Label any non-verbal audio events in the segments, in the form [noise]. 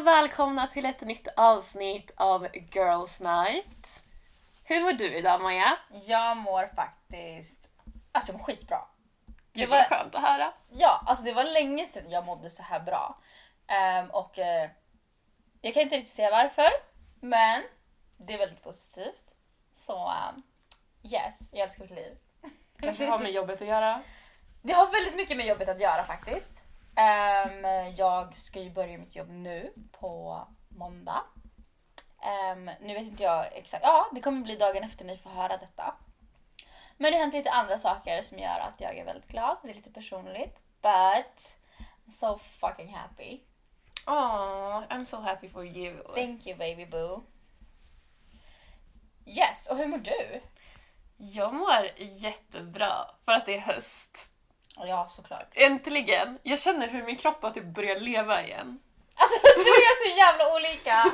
välkomna till ett nytt avsnitt av Girls Night. Hur mår du idag Maja? Jag mår faktiskt... Alltså jag mår skitbra. Gud Det var- vad skönt att höra. Ja, alltså det var länge sedan jag mådde så här bra. Ehm, och eh, jag kan inte riktigt säga varför, men det är väldigt positivt. Så ehm, yes, jag älskar mitt liv. Kanske har med jobbet att göra. Det har väldigt mycket med jobbet att göra faktiskt. Ehm, jag ska ju börja mitt jobb nu på måndag. Ehm, nu vet inte jag exakt. Ja, det kommer bli dagen efter ni får höra detta. Men det har hänt lite andra saker som gör att jag är väldigt glad. Det är lite personligt. But I'm so fucking happy. Aww, I'm so happy for you. Thank you baby boo. Yes, och hur mår du? Jag mår jättebra för att det är höst. Och Ja, såklart. Äntligen! Jag känner hur min kropp har typ börjat leva igen. Alltså [laughs] du och jag är så jävla olika!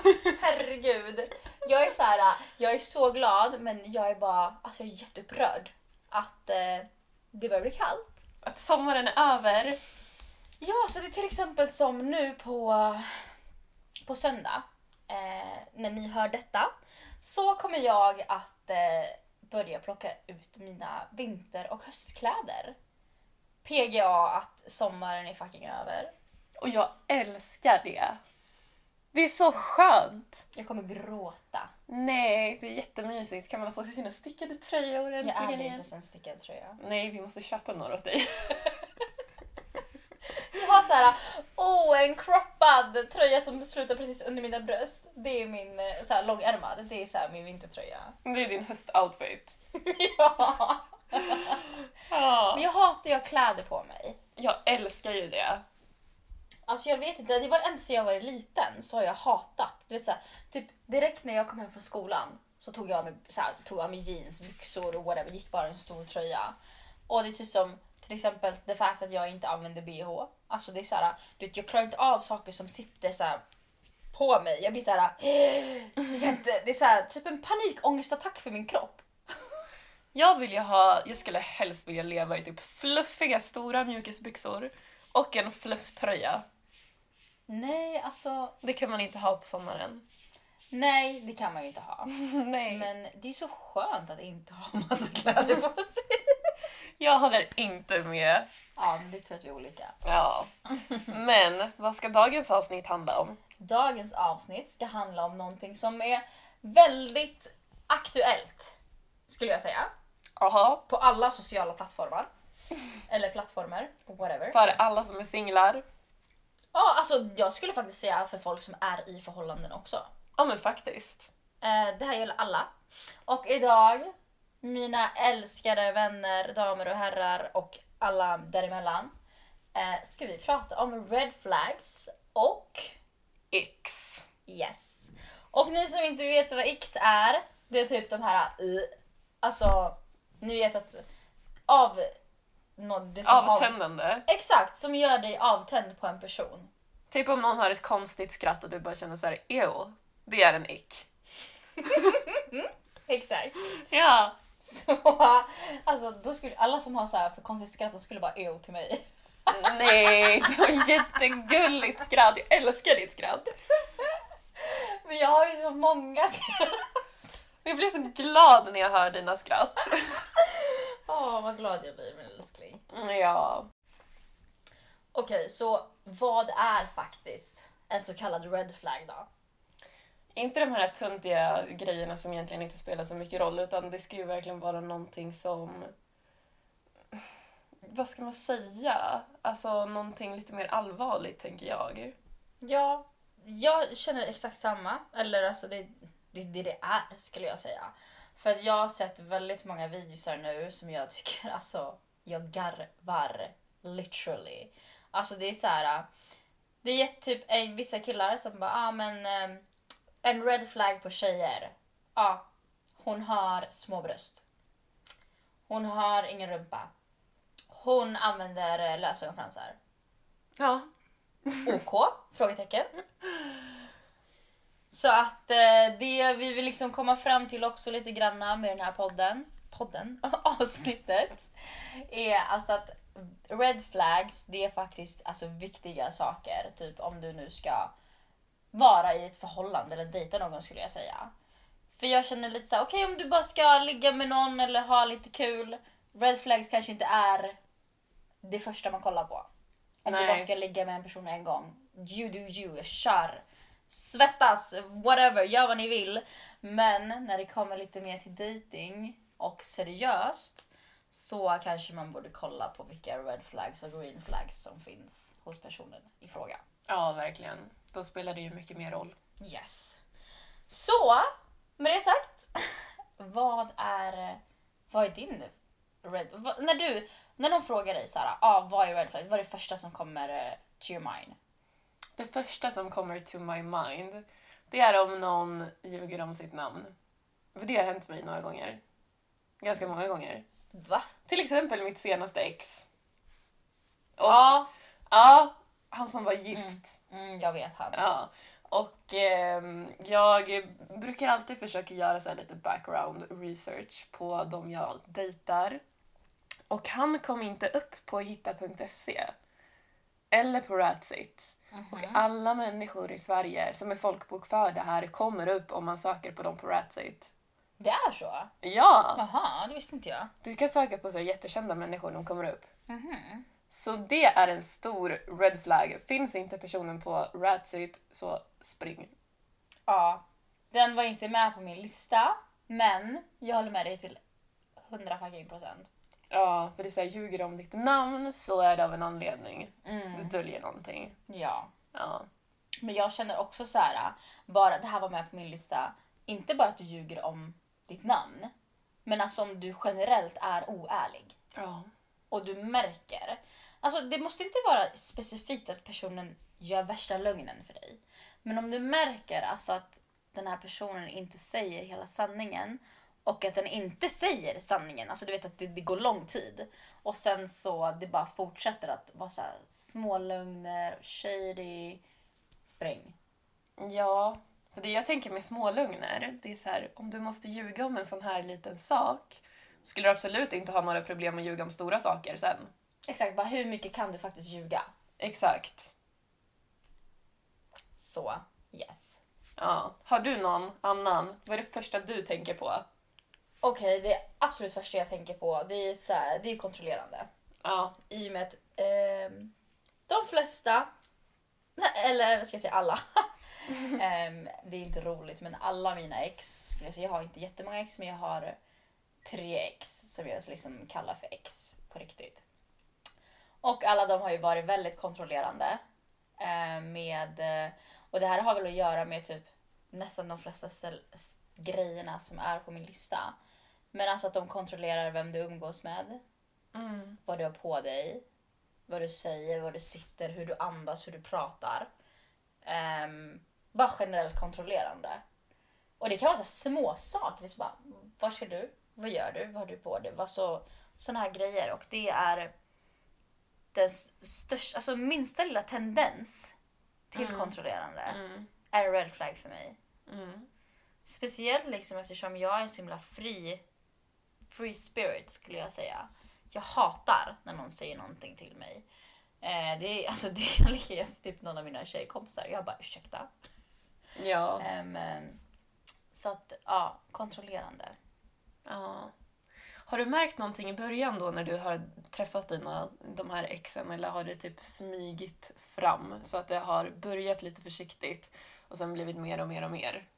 Herregud. Jag är så här, jag är så glad men jag är bara, alltså jag är jätteupprörd att eh, det börjar bli kallt. Att sommaren är över. Ja, så det är till exempel som nu på, på söndag, eh, när ni hör detta, så kommer jag att eh, börja plocka ut mina vinter och höstkläder. PGA att sommaren är fucking över. Och jag älskar det. Det är så skönt. Jag kommer gråta. Nej, det är jättemysigt. Kan man få sig sina stickade tröjor Jag äntligen äger igen? inte ens en stickad tröja. Nej, vi måste köpa några åt dig. Jag har så här, oh, en croppad tröja som slutar precis under mina bröst. Det är min eh, så här, långärmad, det är så här, min vintertröja. Det är din höstoutfit. ja. Men Ja. jag hatar ju att ha kläder på mig. Jag älskar ju det. Alltså jag vet inte, det var ända sedan jag var liten så har jag hatat. Du vet, så här, typ, direkt när jag kom hem från skolan så tog jag av mig, så här, tog av mig jeans, byxor och whatever, gick bara i en stor tröja. Och det är typ som till exempel det faktum att jag inte använder bh. Alltså det är så här, du vet, jag klarar inte av saker som sitter så här på mig. Jag blir så här, jag kan inte, det är så här, typ en panikångestattack för min kropp. Jag vill ju ha, jag skulle helst vilja leva i typ fluffiga stora mjukisbyxor och en flufftröja. Nej, alltså Det kan man inte ha på sommaren. nej, det kan man ju inte ha. Nej. Men det är så skönt att inte ha massa kläder på sig. Jag håller inte med. Ja, men det tror jag att vi är olika. Ja. Men vad ska dagens avsnitt handla om? Dagens avsnitt ska handla om någonting som är väldigt aktuellt, skulle jag säga. Jaha. På alla sociala plattformar. Eller plattformar, whatever. För alla som är singlar. Ja, alltså jag skulle faktiskt säga för folk som är i förhållanden också. Ja men faktiskt. Eh, Det här gäller alla. Och idag, mina älskade vänner, damer och herrar och alla däremellan, eh, ska vi prata om red flags och X. Yes. Och ni som inte vet vad X är, det är typ de här... Uh, alltså, ni vet att av... nå- det som Av, Avtändande. exakt, som gör dig avtänd på en person. Typ om någon har ett konstigt skratt och du bara känner såhär eo, det är en ick. Exakt. Ja. Så, [laughs] alltså, då skulle alla som har så här för konstigt skratt, de skulle bara eo till mig. [laughs] Nej, du har jättegulligt skratt. Jag älskar ditt skratt. Men jag har ju så många [laughs] skratt. Jag blir så glad när jag hör dina skratt. Åh, vad glad jag blir min älskling. Mm, Ja. Okej, så vad är faktiskt en så kallad red flag då? Inte de här töntiga grejerna som egentligen inte spelar så mycket roll utan det ska ju verkligen vara någonting som... Vad ska man säga? Alltså någonting lite mer allvarligt tänker jag. Ja, jag känner exakt samma. Eller alltså det är det, det det är skulle jag säga. För att jag har sett väldigt många videosar nu som jag tycker alltså, jag garvar literally. Alltså det är så här. Det är typ en, vissa killar som bara, ah men eh, en red flag på tjejer. Ja, ah, hon har små bröst. Hon har ingen rumpa. Hon använder eh, lösögonfransar. Ja. OK? Frågetecken. Så att eh, det vi vill liksom komma fram till också lite granna med den här podden, podden, [laughs] avsnittet, är alltså att red flags, det är faktiskt alltså viktiga saker. Typ om du nu ska vara i ett förhållande eller dejta någon skulle jag säga. För jag känner lite såhär, okej om du bara ska ligga med någon eller ha lite kul. Red flags kanske inte är det första man kollar på. Om Nej. du bara ska ligga med en person en gång. You do you, kör! Svettas, whatever, gör vad ni vill. Men när det kommer lite mer till dating och seriöst så kanske man borde kolla på vilka red flags och green flags som finns hos personen i fråga. Ja, verkligen. Då spelar det ju mycket mer roll. Yes. Så, med det sagt. [laughs] Vad är, vad är din red... Vad, när, du, när någon frågar dig så här, ah, vad är red flags? Vad är det första som kommer eh, to your mind? Det första som kommer to my mind, det är om någon ljuger om sitt namn. För det har hänt mig några gånger. Ganska många gånger. Va? Till exempel mitt senaste ex. Och, Ja. ja, han som var gift. Mm, jag vet han. Ja. Och ehm, jag brukar alltid försöka göra så här lite background research på de jag dejtar. Och han kom inte upp på hitta.se. Eller på Ratsit. Och alla människor i Sverige som är folkbokförda här kommer upp om man söker på dem på Ratsit. Det är så? Ja! Jaha, det visste inte jag. Du kan söka på så här jättekända människor, de kommer upp. Så det är en stor red flag. Finns inte personen på Ratsit så spring. Ja. Den var inte med på min lista, men jag håller med dig till 100 fucking procent. Ja, för det är så här, ljuger om ditt namn så är det av en anledning. Mm. Du döljer någonting. Ja. Ja. Men jag känner också så här, äh, bara det här var med på min lista, inte bara att du ljuger om ditt namn, men alltså om du generellt är oärlig Ja. och du märker. Alltså det måste inte vara specifikt att personen gör värsta lögnen för dig. Men om du märker alltså att den här personen inte säger hela sanningen och att den inte säger sanningen, alltså du vet att det, det går lång tid. Och sen så det bara fortsätter att vara så här, små lögner, shady, spräng. Ja. För det jag tänker med smålugner, det är så här, om du måste ljuga om en sån här liten sak skulle du absolut inte ha några problem att ljuga om stora saker sen. Exakt, bara hur mycket kan du faktiskt ljuga? Exakt. Så, yes. Ja. Har du någon annan? Vad är det första du tänker på? Okej, det absolut första jag tänker på det är, så här, det är kontrollerande. Ja. I och med att ehm, de flesta, [laughs] eller vad ska jag säga alla, [laughs] Ehm, det är inte roligt men alla mina ex, skulle jag, säga, jag har inte jättemånga ex men jag har tre ex som jag liksom kallar för ex på riktigt. Och alla de har ju varit väldigt kontrollerande. eh, med, eh, och det här har väl att göra med typ nästan de flesta ställ, s- grejerna som är på min lista. Men alltså att de kontrollerar vem du umgås med, Mm. vad du har på dig, vad du säger, var du sitter, hur du andas, hur du pratar. Ehm, bara generellt kontrollerande. Och det kan vara så här små saker. Liksom bara, vad ska du? Vad gör du? Vad har du på dig? Vad så, såna här grejer. Och det är den största, alltså minsta lilla tendens till kontrollerande Mm. är en red flag för mig. Mm. Speciellt liksom eftersom jag är en så himla fri, free spirit skulle jag säga. Jag hatar när någon säger någonting till mig. Eh, det är alltså [laughs] det jag ligger efter typ någon av mina tjejkompisar. Jag bara ursäkta. Ja. Ehm, ehm, så att ja, kontrollerande. Ja. Har du märkt någonting i början då när du har träffat dina, de här exen eller har det typ smygit fram så att det har börjat lite försiktigt och sen blivit mer och mer och mer?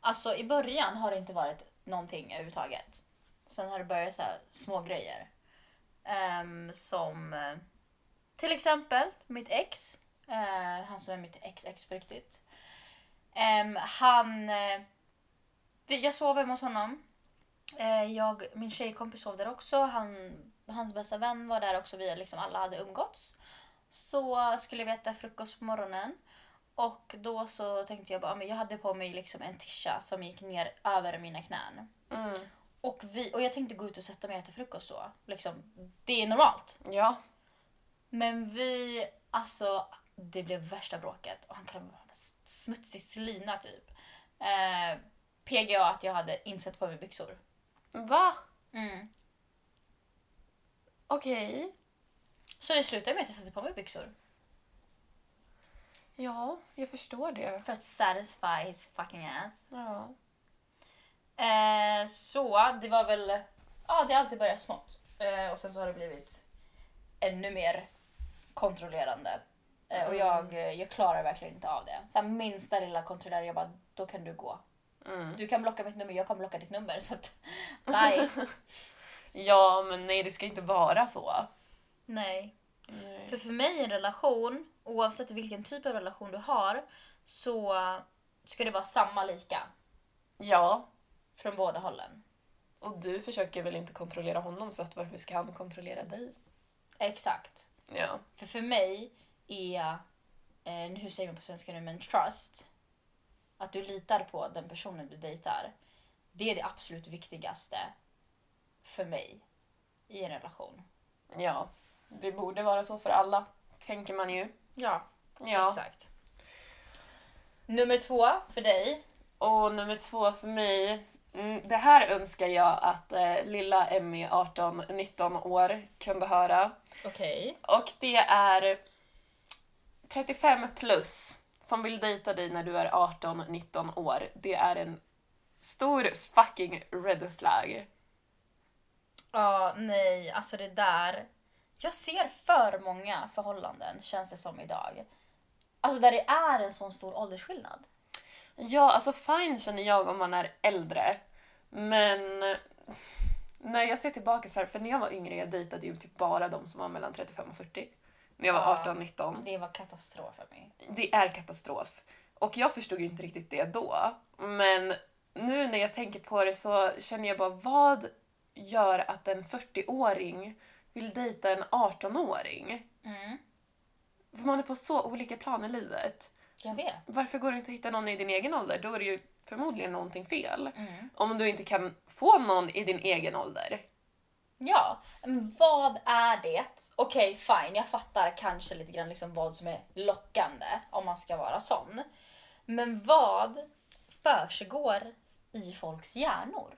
Alltså i början har det inte varit någonting överhuvudtaget. Sen har det börjat så här små grejer. Ehm, som eh, till exempel mitt ex. eh, han som är mitt ex-ex på riktigt. Ehm, han... eh, vi- jag sov hemma hos honom. Eh, jag, min tjejkompis sov där också. Han, hans bästa vän var där också. Vi liksom alla hade umgåtts. Så skulle vi äta frukost på morgonen. Och då så tänkte jag bara, "Ah, men jag hade på mig liksom en tisha som gick ner över mina knän. Mm. Och, vi, och jag tänkte gå ut och sätta mig och äta frukost då. Liksom, det är normalt. Ja. Men vi, alltså det blev värsta bråket. Och han kallade mig bara smutsig slyna typ. Eh, PGA att jag hade insett på mig byxor. Va? Mm. Okej. Så det slutade med att jag satte på mig byxor. Ja, jag förstår det. För att satisfy his fucking ass. Ja. Eh, så det var väl, ja det har alltid börjat smått. Eh, och sen så har det blivit ännu mer kontrollerande. Eh, och jag, jag klarar verkligen inte av det. Så här, minsta lilla kontrollerande, jag bara, då kan du gå. Mm. Du kan blocka mitt nummer, jag kan blocka ditt nummer. Så att, bye. Ja, men nej det ska inte vara så. Nej. Nej. För för mig i en relation, oavsett vilken typ av relation du har, så ska det vara samma lika Ja, från båda hållen. och du försöker väl inte kontrollera honom så att varför ska han kontrollera dig? Exakt. Ja. För för mig är, eh, hur säger man på svenska nu, men trust. Att du litar på den personen du dejtar. Det är det absolut viktigaste för mig i en relation. Ja. Det borde vara så för alla, tänker man ju. Ja, Ja. exakt. Nummer två för dig. Och nummer två för mig. Mm, det här önskar jag att eh, lilla Emmy, 18-19 år, kunde höra. Okej. Och det är 35 plus som vill dejta dig när du är 18-19 år. Det är en stor fucking red flag. Ja, nej, alltså det där. Jag ser för många förhållanden, känns det som idag. Alltså där det är en sån stor åldersskillnad. Ja, alltså fine känner jag om man är äldre. Men när jag ser tillbaka så här, för när jag var yngre jag dejtade ju typ bara de som var mellan 35 och 40. När jag var Ja. 18-19. Det var katastrof för mig. det är katastrof. Och jag förstod ju inte riktigt det då. Men nu när jag tänker på det så känner jag bara vad gör att en 40-åring vill dejta en 18-åring? Mm, För man är på så olika plan i livet. jag vet. Varför går det inte att hitta någon i din egen ålder? Då är det ju förmodligen någonting fel. Mm. Om du inte kan få någon i din egen ålder. Ja, men vad är det? Okej, fine, jag fattar kanske lite grann liksom vad som är lockande om man ska vara sån. Men vad försiggår i folks hjärnor?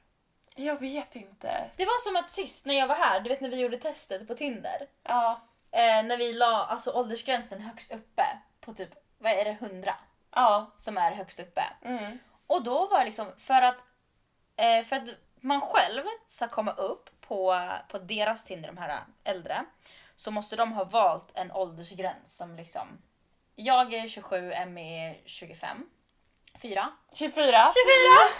Jag vet inte. Det var som att sist när jag var här, du vet när vi gjorde testet på Tinder. Ja, Eh, när vi la alltså, åldersgränsen högst uppe på typ, vad är det, 100 ja, som är högst uppe. mm. Och då var det liksom för att, eh, för att man själv ska komma upp på, på deras Tinder, de här äldre, så måste de ha valt en åldersgräns som liksom, jag är 27, Emmy är 25. fyra 24. 24!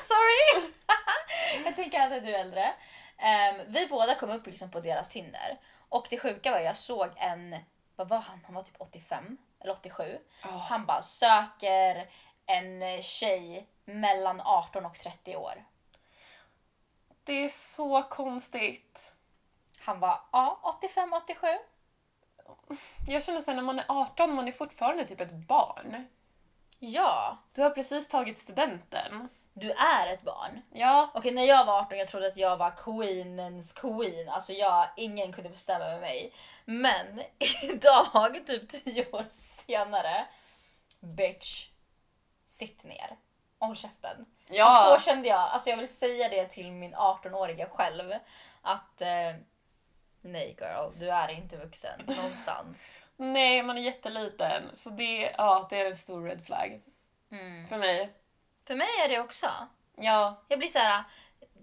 Sorry! [laughs] jag tänker alltid att du är äldre. Ehm, vi båda kom upp liksom på deras Tinder. Och det sjuka var jag såg en, vad var han? Han var typ 85 eller 87. Ja. Han bara söker en tjej mellan 18 och 30 år. Det är så konstigt. Han var ja, 85, 87. Jag känner såhär, när man är 18, man är fortfarande typ ett barn. Ja, Du har precis tagit studenten. du är ett barn. Ja, Okej, när jag var 18 jag trodde att jag var queenens queen. Alltså jag, ingen kunde bestämma över mig. Men [laughs] idag, typ 10 år senare, bitch, sitt ner. Och håll käften. ja. Så kände jag. Alltså jag vill säga det till min 18-åriga själv. Att eh, nej girl, du är inte vuxen någonstans. Nej, man är jätteliten. Så det, ja, det är en stor red flag. [laughs] Mm. För mig. För mig är det också. Ja. Jag blir så här.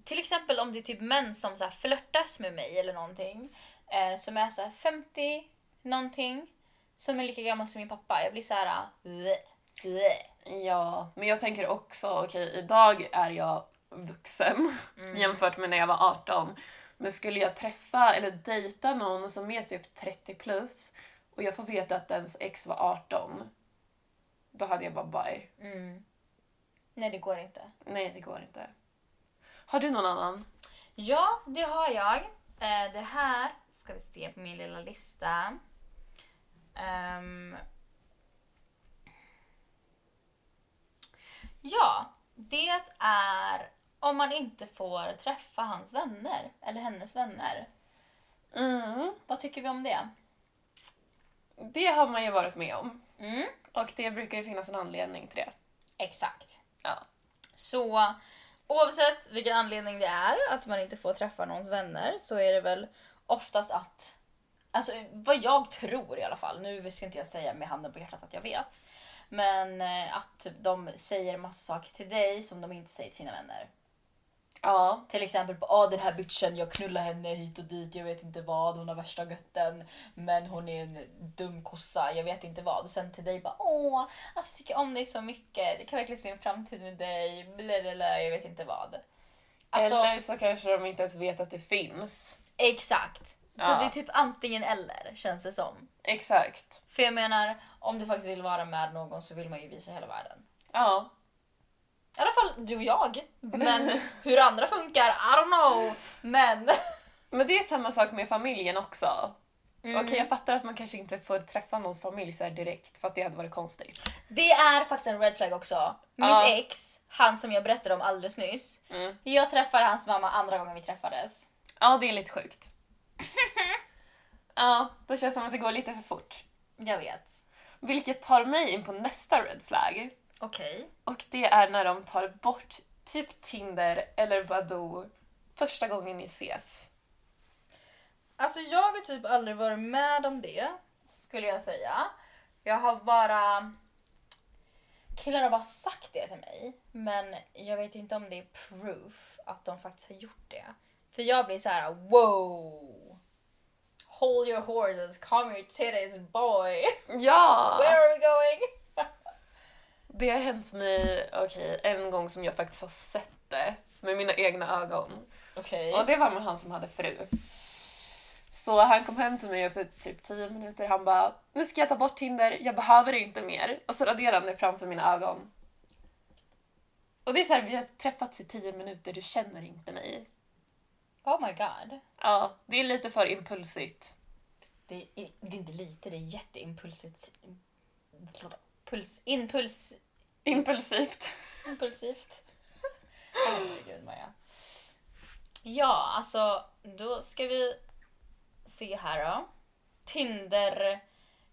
Till exempel om det är typ män som så här flörtas med mig eller någonting. Eh, som är så här 50 någonting. Som är lika gammal som min pappa. Jag blir så här. bleh, bleh. Ja. Men jag tänker också, okej, idag är jag vuxen jämfört med när jag var 18. Men skulle jag träffa eller dejta någon som är typ 30 plus och jag får veta att ens ex var 18, då hade jag bara bye. Mm. Nej det går inte. Nej, det går inte. Har du någon annan? Ja, det har jag. Eh, det här ska vi se på min lilla lista. Ehm. ja, det är om man inte får träffa hans vänner eller hennes vänner. Mm. Vad tycker vi om det? Det har man ju varit med om. Mm, Och det brukar ju finnas en anledning till det. exakt. Ja. Så oavsett vilken anledning det är att man inte får träffa någons vänner så är det väl oftast att, alltså vad jag tror i alla fall, nu ska inte jag säga med handen på hjärtat att jag vet, Men eh, att typ, de säger massa saker till dig som de inte säger till sina vänner. Ja. Till exempel på ah, den här bitchen, jag knullar henne hit och dit, jag vet inte vad, hon har värsta götten men hon är en dum kossa, jag vet inte vad. Och sen till dig bara åh, alltså jag tycker om dig så mycket, det kan verkligen se en framtid med dig, bla, bla, bla, jag vet inte vad. Alltså Eller så kanske de inte ens vet att det finns. exakt. Så Ja. det är typ antingen eller känns det som. Exakt. För jag menar, om du faktiskt vill vara med någon så vill man ju visa hela världen. Ja. I alla fall du och jag. [laughs] Men hur andra funkar, I don't know. Men... Men det är samma sak med familjen också. Okej, jag fattar att man kanske inte får träffa någons familj så här direkt för att det hade varit konstigt. Det är faktiskt en red flag också. Mitt Ja. ex, han som jag berättade om alldeles nyss. Mm. Jag träffade hans mamma andra gången vi träffades. Ja, det är lite sjukt. [laughs] ja, då känns det som att det går lite för fort. Jag vet. Vilket tar mig in på nästa red flag. Okej. Och det är när de tar bort typ Tinder eller Badoo första gången ni ses. Alltså jag har typ aldrig varit med om det. Skulle jag säga. Jag har bara... Killar har bara sagt det till mig. Men jag vet inte om det är proof att de faktiskt har gjort det. För jag blir så här: wow! Hold your horses, come your titties boy! Ja! Where are we going? Det har hänt mig, okej, en gång som jag faktiskt har sett det med mina egna ögon. Okej. Och det var med han som hade fru. Så han kom hem till mig efter typ 10 minuter. Han bara “Nu ska jag ta bort Tinder, jag behöver det inte mer” och så raderade han det framför mina ögon. Och det är såhär, vi har träffats i 10 minuter, du känner inte mig. Oh my god. Ja, det är lite för impulsigt. Det är, det är inte lite, det är jätteimpulsivt. Puls, impuls, Impulsivt. impulsivt. Herregud Maja. Ja, alltså då ska vi se här då. Tinder.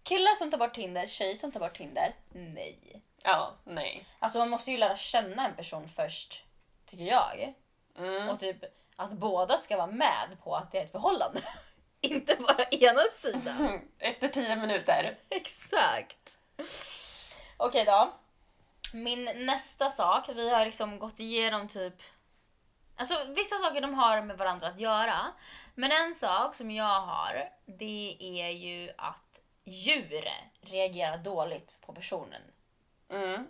Killar som tar bort Tinder, tjej som tar bort Tinder. Nej. Ja, nej. Alltså man måste ju lära känna en person först, tycker jag. Mm. Och typ att båda ska vara med på att det är ett förhållande. [laughs] Inte bara ena sidan. Efter 10 minuter. [laughs] Exakt. Okej då. Min nästa sak, vi har liksom gått igenom typ... Alltså vissa saker de har med varandra att göra. Men en sak som jag har, det är ju att djur reagerar dåligt på personen. Mm.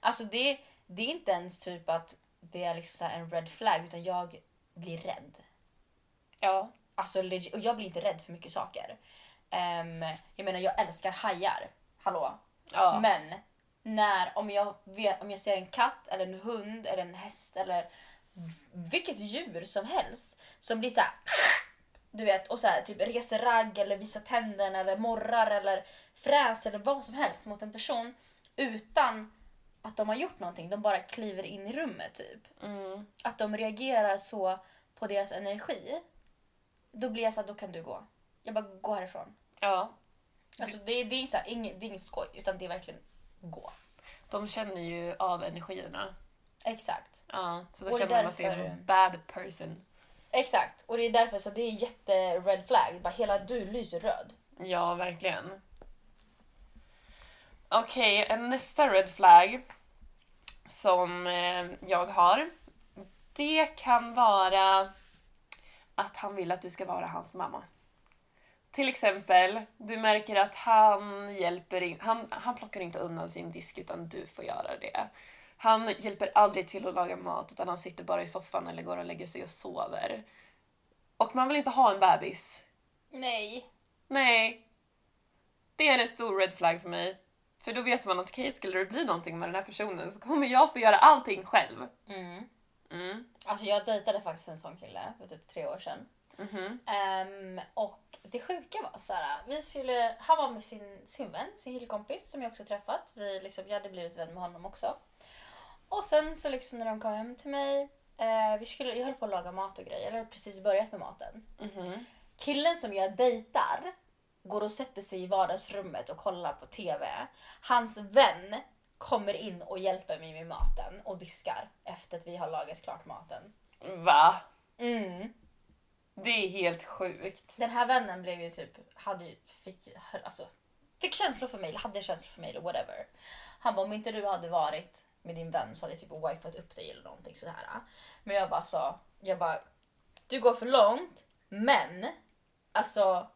Alltså det, det är inte ens typ att det är liksom så här en red flag, utan jag blir rädd. Ja. Alltså legit, och jag blir inte rädd för mycket saker. Ehm, jag menar jag älskar hajar. Hallå? ja. Men när, om, jag vet, om jag ser en katt, eller en hund, eller en häst eller v- vilket djur som helst som blir så här, [sniffs] du vet, och så här, typ reser ragg eller visar tänderna eller morrar eller fräser eller vad som helst mot en person utan att de har gjort någonting. De bara kliver in i rummet typ. Mm. Att de reagerar så på deras energi. Då blir jag så här, då kan du gå. Jag bara, gå härifrån. ja. Alltså det, är- det, är så här, inget, det är inget skoj, utan det är verkligen gå. De känner ju av energierna. Exakt. Ja. Så då Och det är känner de att det är därför- en bad person. Exakt. Och det är därför så det är jätte red flag. Bara hela du lyser röd. Ja, verkligen. Okej, en nästa red flag som eh, jag har. Det kan vara att han vill att du ska vara hans mamma. Till exempel, du märker att han hjälper in, han, han plockar inte undan sin disk utan du får göra det. Han hjälper aldrig till att laga mat utan han sitter bara i soffan eller går och lägger sig och sover. Och man vill inte ha en bebis. Nej. Nej. Det är en stor red flag för mig. För då vet man att okej, skulle det bli någonting med den här personen så kommer jag få göra allting själv. Mm. Mm. Alltså jag dejtade faktiskt en sån kille för typ tre år sedan. Mhm. Ehm, och det sjuka var så här, vi skulle, han var med sin, sin vän, sin killkompis som jag också träffat. Vi liksom, jag hade blivit vän med honom också. Och sen så liksom när de kom hem till mig, eh, vi skulle, jag höll på att laga mat och grejer, jag hade precis börjat med maten. Mhm. Killen som jag dejtar går och sätter sig i vardagsrummet och kollar på TV. Hans vän kommer in och hjälper mig med maten och diskar efter att vi har lagat klart maten. Va? Mm. Det är helt sjukt. Den här vännen blev ju typ, hade ju, fick, ju- alltså, Fick känslor för mig, hade känslor för mig eller whatever. Han bara, om inte du hade varit med din vän så hade jag typ wifat upp dig eller någonting så här. Men jag bara sa, jag bara, du går för långt, men alltså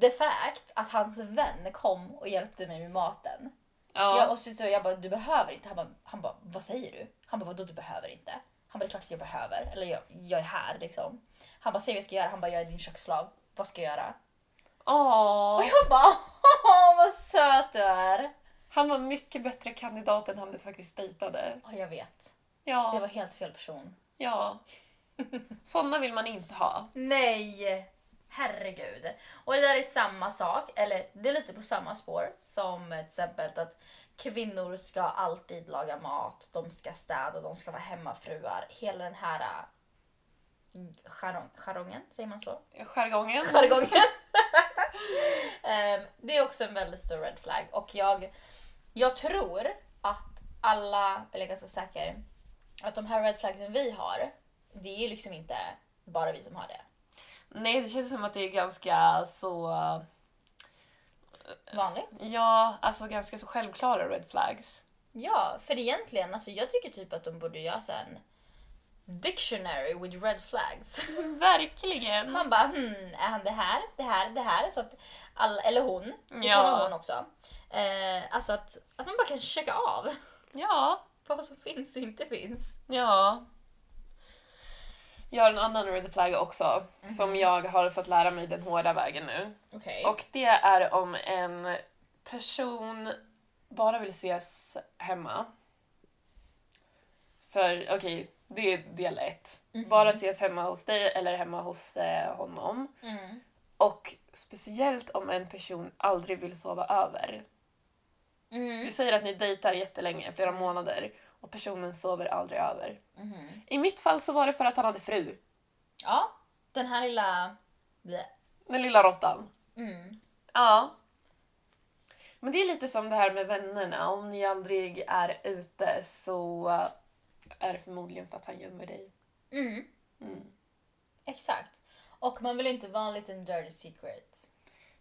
the fact att hans vän kom och hjälpte mig med maten. Ja. Jag, och så, så jag bara, du behöver inte. Han bara, han bara, vad säger du? Han bara, vadå du behöver inte? Han bara, det är klart att jag behöver. Eller jag, jag är här liksom. Han bara, säg vad jag ska göra. Han bara, jag är din köksslav. Vad ska jag göra? [laughs] Åh. Och jag bara, [laughs] åh vad söt du är! Han var mycket bättre kandidat än han du faktiskt dejtade. Ja, jag vet. Ja. Det var helt fel person. [laughs] ja. Såna vill man inte ha. Nej! Herregud. Och det där är samma sak, eller det är lite på samma spår som till exempel att kvinnor ska alltid laga mat, de ska städa, de ska vara hemmafruar. Hela den här äh, jarong, jarongen, säger man så? Jargongen. jargongen. Ehm, det är också en väldigt stor red flag och jag, jag tror att alla, eller jag är ganska säker, att de här red flagsen vi har, det är ju liksom inte bara vi som har det. Nej, det känns som att det är ganska så... Vanligt. Ja, alltså ganska så självklara red flags. Ja, för egentligen, alltså jag tycker typ att de borde göra så här en dictionary with red flags. Mm. Verkligen! Man bara hmm, är han det här, det här, det här? Så att alla, eller hon, vi Ja. talar om hon också. Eh, alltså att, att man bara kan checka av [laughs] Ja. vad som finns och inte finns. Ja. Jag har en annan red flag också, som jag har fått lära mig den hårda vägen nu. Okej. Och det är om en person bara vill ses hemma. För okej, det är del ett. Bara ses hemma hos dig eller hemma hos eh, honom. Mm. Och speciellt om en person aldrig vill sova över. Vi Mm. säger att ni dejtar jättelänge, flera månader, och personen sover aldrig över. I mitt fall så var det för att han hade fru. Mm. Ja, den här lilla... Blä. Den lilla råttan. Mm. Ja. Men det är lite som det här med vännerna. Om ni aldrig är ute så eh, är det förmodligen för att han gömmer dig. Mm. Mm. Exakt. Och man vill inte vara en liten dirty secret.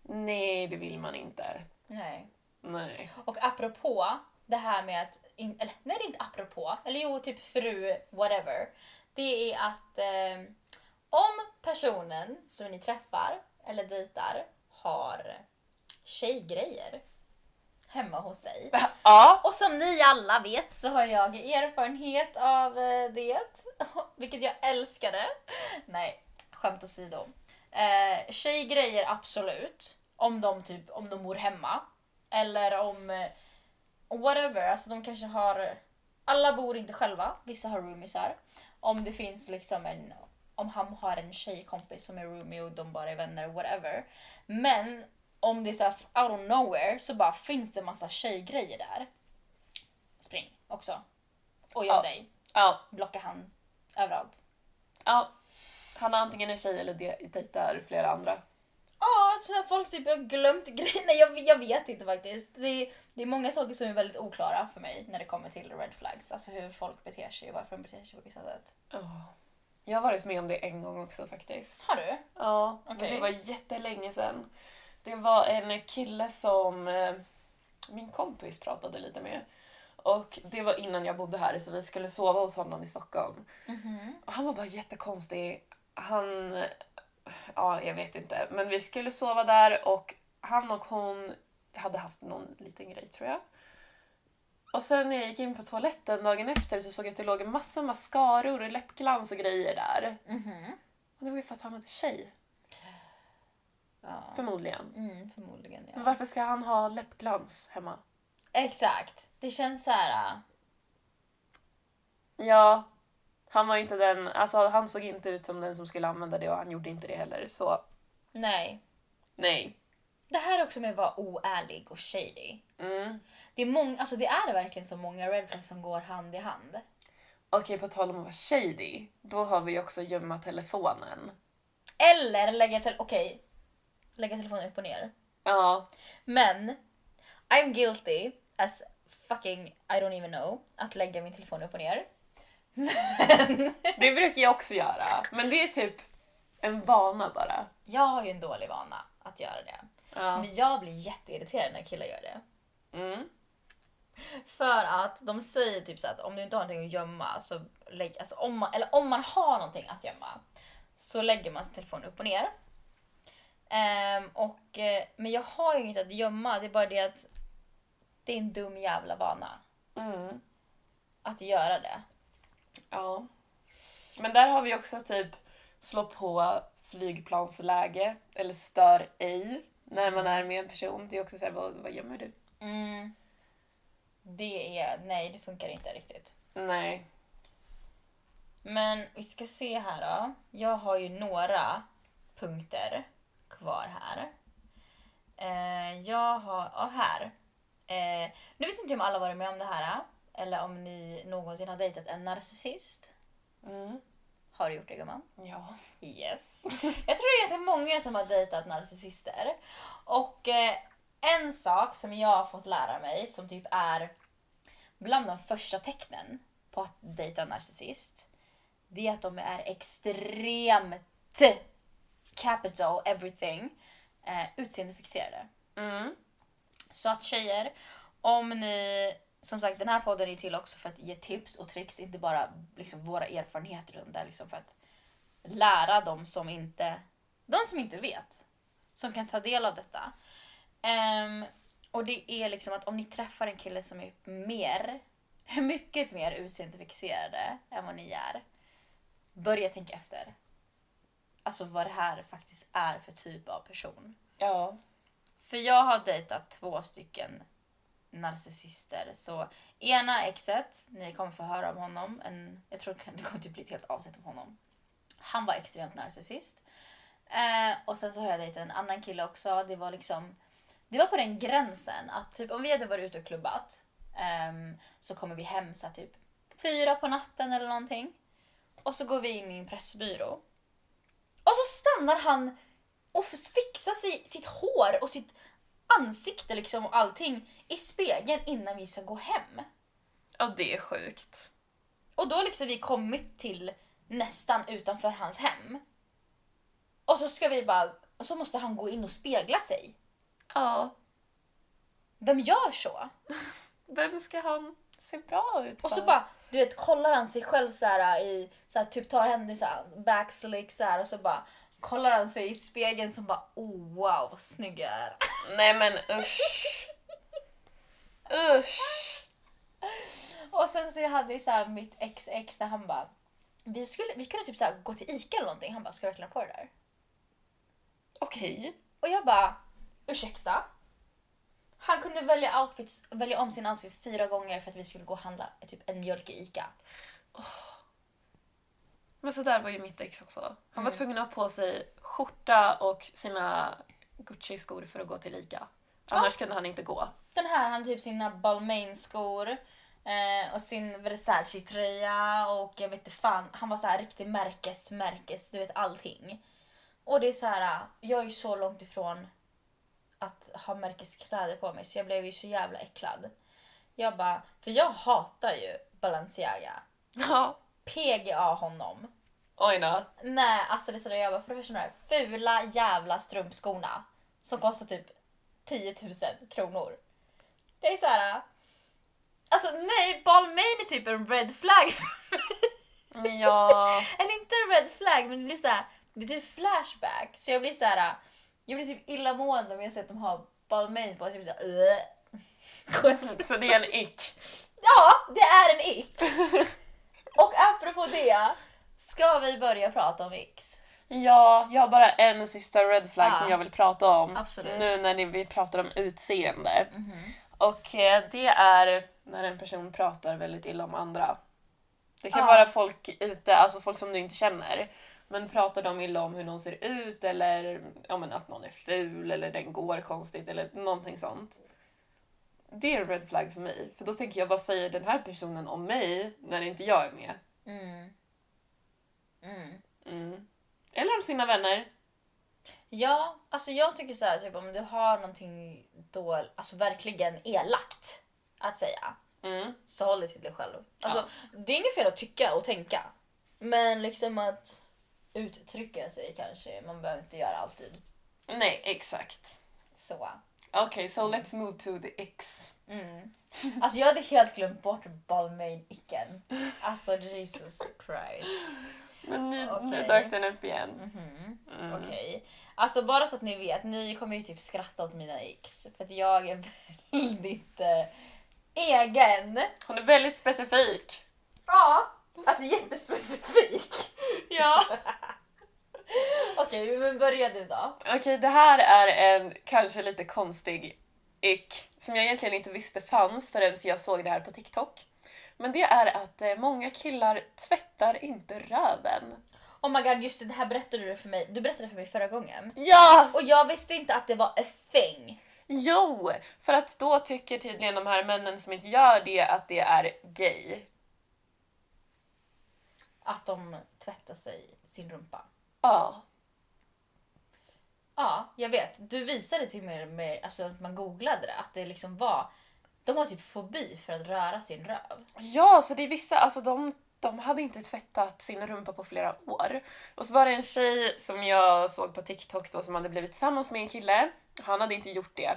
Nej, det vill man inte. Nej. Nej. Och apropå det här med att... In, eller nej, det är inte apropå. Eller jo, typ fru, whatever. Det är att eh, om personen som ni träffar eller dejtar har tjejgrejer hemma hos sig. Ja. Och som ni alla vet så har jag erfarenhet av eh, det, [laughs] vilket jag älskade. Nej, skämt åsido. Eh, tjejgrejer absolut, om de, typ, om de bor hemma. Eller om eh, whatever, alltså de kanske har... Alla bor inte själva, vissa har roomiesar. Om det finns liksom en... Om han har en tjejkompis som är roomie och de bara är vänner, whatever. Men om det är såhär out of nowhere så bara finns det massa tjejgrejer där. Spring också. Och jag Ja. dig. ja. Blocka han överallt. ja. Han har antingen en tjej eller de- dejtar flera andra. Ja, så här folk typ har glömt [laughs] grejer. Nej, jag, jag vet inte faktiskt. Det, det är många saker som är väldigt oklara för mig när det kommer till red flags. Alltså hur folk beter sig och varför de beter sig på vissa sätt. Ja. Jag har varit med om det en gång också faktiskt. Har du? Ja, men Okej. det var jättelänge sedan. Det var en kille som eh, min kompis pratade lite med. Och det var innan jag bodde här så vi skulle sova hos honom i Stockholm. Och han var bara jättekonstig. Han... eh, Ja, jag vet inte. Men vi skulle sova där och han och hon hade haft någon liten grej tror jag. Och sen när jag gick in på toaletten dagen efter så såg jag att det låg en massa mascaror och läppglans och grejer där. Och det var ju för att han hade tjej. Ja. Förmodligen. Mm, förmodligen ja. Men varför ska han ha läppglans hemma? Exakt. Det känns så här. äh, Ja, han var inte den, alltså han såg inte ut som den som skulle använda det och han gjorde inte det heller så Nej. nej. Det här är också med att vara oärlig och shady. Mm. Det är, många, alltså det är verkligen så många red flags som går hand i hand. Okej, på tal om att vara shady, då har vi ju också gömma telefonen. Eller lägga, till, okej, lägga telefonen upp och ner. Ja, Men I'm guilty as fucking I don't even know att lägga min telefon upp och ner. [laughs] det brukar jag också göra. Men det är typ en vana bara. Jag har ju en dålig vana att göra det. Ja. Men jag blir jätteirriterad när killar gör det. Mm. För att de säger typ så att om du inte har någonting att gömma, så lägg, alltså om man, eller om man har någonting att gömma, så lägger man sin telefon upp och ner. Ehm, och, eh, men jag har ju inget att gömma, det är bara det att det är en dum jävla vana Mm. att göra det. Ja. Men där har vi också typ slå på flygplansläge eller stör ej när man är med en person. Det är också såhär, vad, vad gömmer du? Mm. Det är, nej det funkar inte riktigt. Nej. Men vi ska se här då. Jag har ju några punkter kvar här. Eh, jag har, ja här. Eh, nu vet inte jag om alla varit med om det här. eh, Eller om ni någonsin har dejtat en narcissist. Mm. Har du gjort det gumman? Ja. Yes. Jag tror det är ganska många som har dejtat narcissister. Och eh, en sak som jag har fått lära mig som typ är bland de första tecknen på att dejta en narcissist. Det är att de är extremt capital everything eh, utseendefixerade. Mm. Så att tjejer, om ni... Som sagt, den här podden är till också för att ge tips och tricks, inte bara liksom våra erfarenheter utan det är liksom för att lära dem som inte, de som inte vet, som kan ta del av detta. Ehm, och det är liksom att om ni träffar en kille som är mer, [laughs] mycket mer utseendefixerade än vad ni är, börja tänka efter. Alltså vad det här faktiskt är för typ av person. Ja. För jag har dejtat två stycken narcissister. Så ena exet, ni kommer få höra om honom. En, jag tror det kommer typ bli ett helt avsnitt om honom. Han var extremt narcissist. Eh, och sen så har jag dejtat en annan kille också. Det var liksom... Det var på den gränsen att typ om vi hade varit ute och klubbat ehm, så kommer vi hem så här typ fyra på natten eller någonting. Och så går vi in i en pressbyrå. Och så stannar han och f- fixa sig, sitt hår och sitt ansikte liksom och allting i spegeln innan vi ska gå hem. Ja, det är sjukt. Och då har liksom vi kommit till nästan utanför hans hem. Och så ska vi bara, och så måste han gå in och spegla sig. Ja. Vem gör så? Vem ska han se bra ut Och så för? bara, du vet, kollar han sig själv så här i, så här, typ tar händerna så här, backslick så här och så bara kollar han sig i spegeln som bara, oh wow vad snygg jag är. Nej men usch. Usch. Och sen så hade jag så här mitt ex ex där han bara vi, skulle, vi kunde typ så här gå till Ica eller någonting. Han bara, ska du verkligen ha på det där? Okej. Och jag bara, ursäkta? Han kunde välja, outfits, välja om sin outfit fyra gånger för att vi skulle gå och handla typ en mjölk i Ica. Men så där var ju mitt ex också. Han var tvungen att ha på sig skjorta och sina Gucci-skor för att gå till Ica. Annars kunde han inte gå. Den här, han hade typ sina Balmain-skor eh, och sin Versace-tröja och jag vet inte fan. Han var så här riktig märkes, märkes, du vet allting. Och det är så här, jag är ju så långt ifrån att ha märkeskläder på mig så jag blev ju så jävla äcklad. Jag bara, för jag hatar ju Balenciaga. Ja. PGA honom. Oj då. Nej, alltså det är sådär jag bara, för det första de här fula jävla strumpskorna som kostar typ 10 000 kronor. Det är såhär, alltså nej, Balmain är typ en red flag. Ja. Eller inte en red flag, men det blir såhär, det blir flashback. Så jag blir såhär, jag blir typ illamående om jag ser att de har Balmain på sig. Jag blir "Äh." såhär, "Ugh." Så det är en ick. Ja, det är en ick! Och apropå det, ska vi börja prata om icks? Ja, jag har bara en sista red flag Ja. som jag vill prata om. Absolut. Nu när ni- vi pratar om utseende. Och eh, det är när en person pratar väldigt illa om andra. Det kan Ja. vara folk ute, alltså folk som du inte känner. Men pratar de illa om hur någon ser ut eller ja, men att någon är ful eller den går konstigt eller någonting sånt. Det är en red flag för mig. För då tänker jag, vad säger den här personen om mig när inte jag är med? Mm. Mm. Mm. Eller om sina vänner. Ja, alltså jag tycker så här, typ om du har någonting då, alltså verkligen elakt att säga, Mm. så håll det till dig själv. Alltså, det är inget fel att tycka och tänka, men liksom att uttrycka sig kanske, man behöver inte göra alltid. Nej, exakt. Så. Okej, so let's move to the X. Mm. Alltså jag hade helt glömt bort Balmain-icken. Alltså Jesus Christ. Men nu, nu Okej. dök den upp igen. Mhm. Mm. Okej. Alltså bara så att ni vet, ni kommer ju typ skratta åt mina x. För att jag är [laughs] väldigt eh, egen. Hon är väldigt specifik. Ja. Alltså jättespecifik. Ja. [laughs] Okej, men börja du då. Okej, det här är en kanske lite konstig ick som jag egentligen inte visste fanns förrän jag såg det här på TikTok. Men det är att eh, många killar tvättar inte röven. Oh my god, just det, det här berättade du för mig. Du berättade för mig förra gången. Ja! Och jag visste inte att det var a thing. Jo! För att då tycker tydligen de här männen som inte gör det att det är gay. Att de tvättar sig sin rumpa. Ja. Ja, jag vet. Du visade till mig, med, alltså att man googlade det, att det liksom var... De har typ fobi för att röra sin röv. Ja, så det är vissa, alltså de, de hade inte tvättat sin rumpa på flera år. Och så var det en tjej som jag såg på TikTok då som hade blivit tillsammans med en kille. Han hade inte gjort det.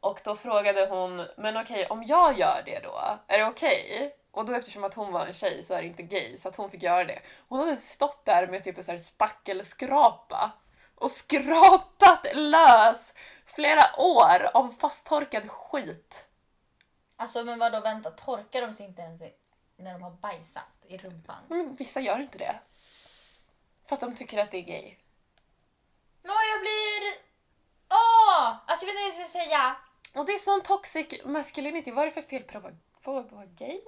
Och då frågade hon, men okej om jag gör det då, är det okej? Och då eftersom att hon var en tjej så är det inte gay så att hon fick göra det. Hon hade stått där med typ en så här spackelskrapa och skrapat lös flera år av fasttorkad skit. Alltså men vadå, vänta, torkar de sig inte ens i- när de har bajsat i rumpan? Men vissa gör inte det. För att de tycker att det är gay. Åh, jag blir... Åh! Alltså jag vet inte vad jag ska säga. Och det är sån toxic masculinity. Vad är det för fel på att vara- för att vara gay?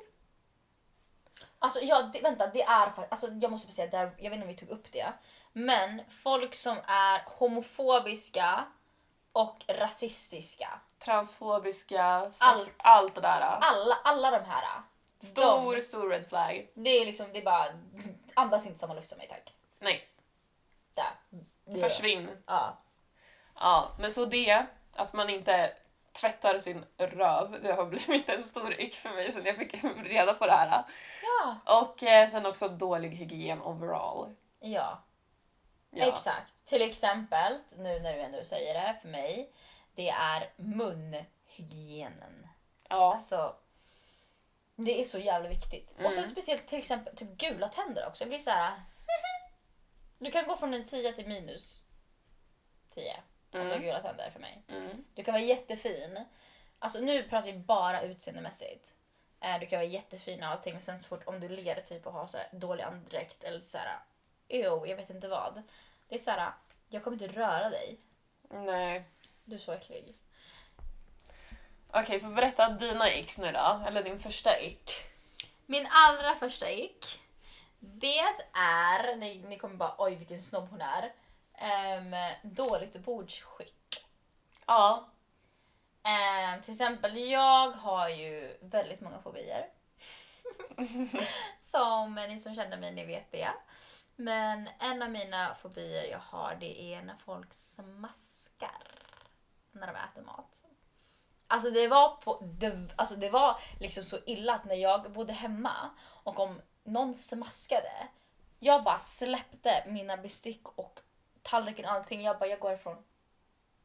Alltså ja, det, vänta, det är faktiskt... Alltså jag måste bara säga, det här, jag vet inte om vi tog upp det. Men folk som är homofobiska och rasistiska. Transfobiska, sex, allt. Allt. det där. Alla, alla de här. Stor, stor red flag. De, det är liksom, det är bara... Andas inte samma luft som mig tack. Nej, Där. försvinn. Ja. Ja, men så det, att man inte tvättar sin röv, det har [laughs] blivit en stor ick för mig sen jag fick reda på det här. Ja. Och eh, sen också dålig hygien overall. Ja, Ja. exakt. Till exempel, nu när du ändå säger det för mig, det är munhygienen. Ja. Alltså, det är så jävla viktigt. Och sen Mm. speciellt till exempel typ gula tänder också. Det blir så här. Du kan gå från en 10 till minus 10 om du har Mm. gula tänder för mig. Mm. Du kan vara jättefin. Alltså nu pratar vi bara utseendemässigt. Eh, Du kan vara jättefin och allting men sen så fort om du ler typ och har så här dålig andedräkt eller så här, ew, jag vet inte vad. Det är så här, jag kommer inte röra dig. mm. Nej. Du är så äcklig. Okej, så berätta dina ick nu då. Eller din första ick. Min allra första ick, det är, ni, ni kommer bara oj vilken snobb hon är. Ehm, dåligt bordsskick. Ja. Ehm, till exempel, jag har ju väldigt många fobier. [laughs] som ni som känner mig, ni vet det. Men en av mina fobier jag har det är när folk smaskar när de äter mat. Alltså det var, på, det, alltså det var liksom så illa att när jag bodde hemma och om någon smaskade, jag bara släppte mina bestick och tallriken och allting. Jag bara, jag går ifrån.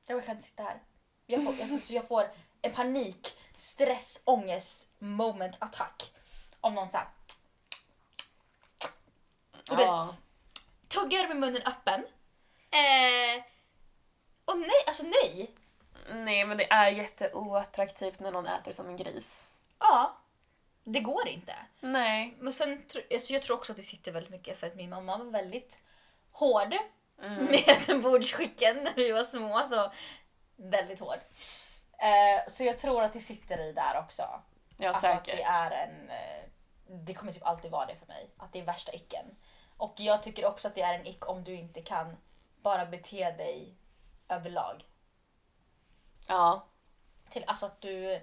Jag kan inte sitta här. Jag får, jag får, så jag får en panik, stress, ångest, moment, attack. Om någon såhär Och vet- ja. tuggar med munnen öppen. Eh, och nej, alltså nej. Nej, men det är jätteoattraktivt när någon äter som en gris. Ja, det går inte. Nej. Men sen, tr- alltså jag tror också att det sitter väldigt mycket för att min mamma var väldigt hård Mm. med [laughs] bordsskicken när vi var små. Så väldigt hård. Eh, så jag tror att det sitter i där också. Ja, Alltså att säkert. det är en... eh, Det kommer typ alltid vara det för mig. Att det är värsta icken. Och jag tycker också att det är en ick om du inte kan bara bete dig överlag. Ja. Till, alltså att du...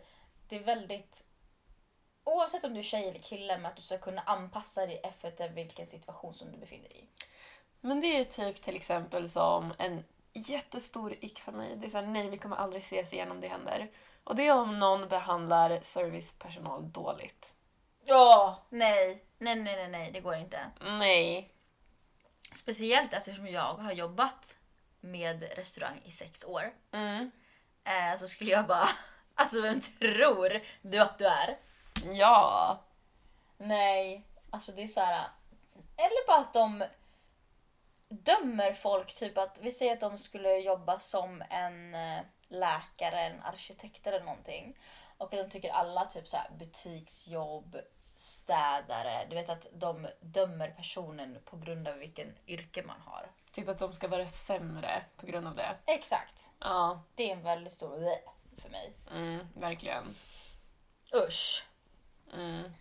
Det är väldigt... Oavsett om du är tjej eller kille, men att du ska kunna anpassa dig efter vilken situation som du befinner dig i. Men det är ju typ till exempel som en jättestor ick för mig. Det är såhär, nej vi kommer aldrig ses igen om det händer. Och det är om någon behandlar servicepersonal dåligt. Ja, nej. Nej, nej, nej, nej, det går inte. Nej. Speciellt eftersom jag har jobbat med restaurang i sex år. Mm. eh, så skulle jag bara, [laughs] alltså vem tror du att du är? Ja. Nej, alltså det är så här. Eller bara att de dömer folk, typ att vi säger att de skulle jobba som en eh, läkare, en arkitekt eller någonting. Och att de tycker alla typ så här butiksjobb, städare, du vet att de dömer personen på grund av vilken yrke man har. Typ att de ska vara sämre på grund av det. Exakt. Ja, Det är en väldigt stor bleh för mig. mm, verkligen. Usch. Mm.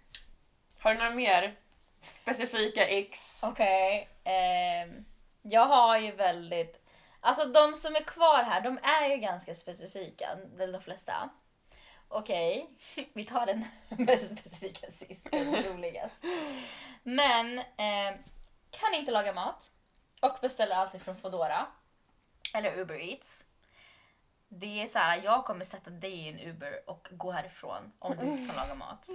Har du några mer specifika ex? Okej. ehm, jag har ju väldigt... Alltså de som är kvar här, de är ju ganska specifika, de de flesta. Okej, vi tar den [laughs] mest specifika sist, det är roligast. Men ehm, kan inte laga mat och beställer alltid från Foodora eller Uber Eats. Det är så här, jag kommer sätta dig i en Uber och gå härifrån om du inte kan laga mat.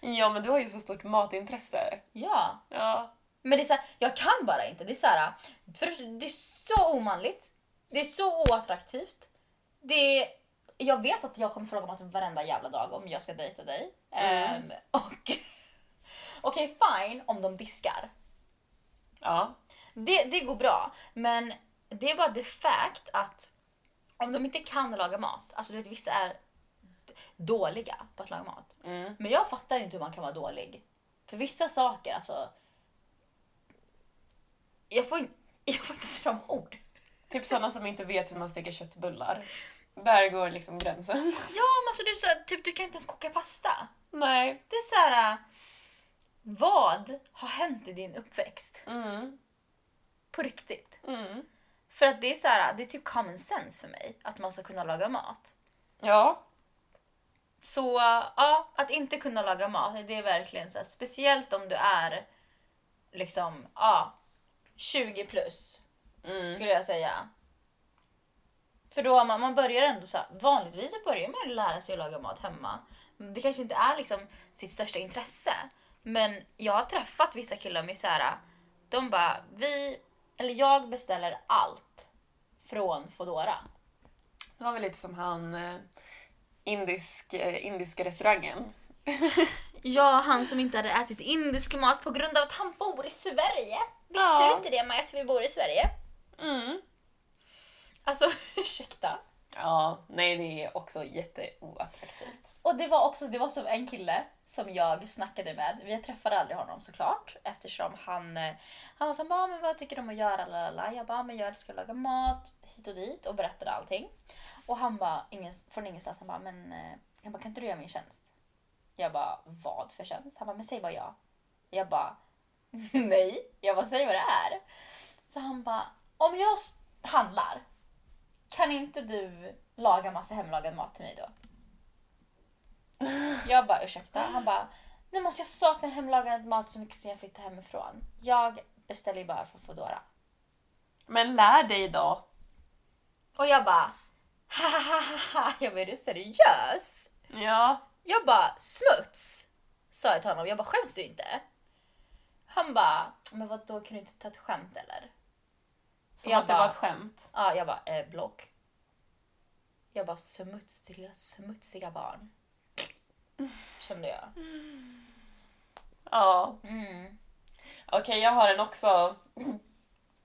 Ja, men du har ju så stort matintresse. Ja, Ja. Men det är så här, jag kan bara inte. Det är så här, för det första, det är så omanligt. Det är så oattraktivt. Det är, jag vet att jag kommer fråga mat varenda jävla dag om jag ska dejta dig. Mm. Ehm, [laughs] och Okej, fine om de diskar. Ja. Det, det går bra. Men det är bara the fact att om de inte kan laga mat, alltså du vet vissa är d- dåliga på att laga mat. Mm. Men jag fattar inte hur man kan vara dålig. För vissa saker, alltså... Jag får, in, jag får inte [laughs] ens fram ord. Typ sådana som inte vet hur man steker köttbullar. Där går liksom gränsen. Ja, men alltså det är så här, typ du kan inte ens koka pasta. [laughs] Nej. Det är så här... äh, Vad har hänt i din uppväxt? Mm. På riktigt. Mm. För att det är så här, det är typ common sense för mig att man ska kunna laga mat. Ja. Så äh, ja, att inte kunna laga mat, det är verkligen så här, speciellt om du är liksom, ja, 20 plus. Mm. skulle jag säga. För då har man, man börjar ändå så här, vanligtvis så börjar man lära sig att laga mat hemma. Det kanske inte är liksom sitt största intresse. Men jag har träffat vissa killar med så här, de bara, vi, eller jag beställer allt från Foodora. Det var väl lite som han eh, indisk, eh, indiska restaurangen. Ja, han som inte hade ätit indisk mat på grund av att han bor i Sverige. Visste Ja. du inte det Maja, att vi bor i Sverige? Mm. Alltså, [laughs] ursäkta. Ja, nej det är också jätteoattraktivt. Och det var också det var som en kille som jag snackade med. Vi träffade aldrig honom såklart eftersom han, eh, han var såhär ah, men vad tycker du om att göra? Lalala. Jag bara, "Ah, men jag älskar att laga mat hit och dit och berättade allting. Och han bara, ingen, från ingenstans, han bara, men eh, han bara, kan inte du göra min tjänst? Jag bara, vad för tjänst? Han bara, men säg bara ja. Jag bara, [laughs] nej. Jag bara, säg vad det är. Så han bara, om jag s- handlar, kan inte du laga massa hemlagad mat till mig då? Jag bara ursäkta. Han bara nej men alltså jag saknar hemlagad mat så mycket sen jag flyttade hemifrån. Jag beställer ju bara från Foodora. Men lär dig då. Och jag bara ha ha ha, ha ha. Jag bara är du seriös? Ja. Jag bara smuts! Sa jag till honom. Jag bara skäms du inte? Han bara men vad då kan du inte ta ett skämt eller? Som Jag att det bara- var ett skämt. Ja, jag bara eh, block. Jag bara smuts till lilla smutsiga barn. Kände jag. Ja. Mm. Okej, jag har en också. [laughs]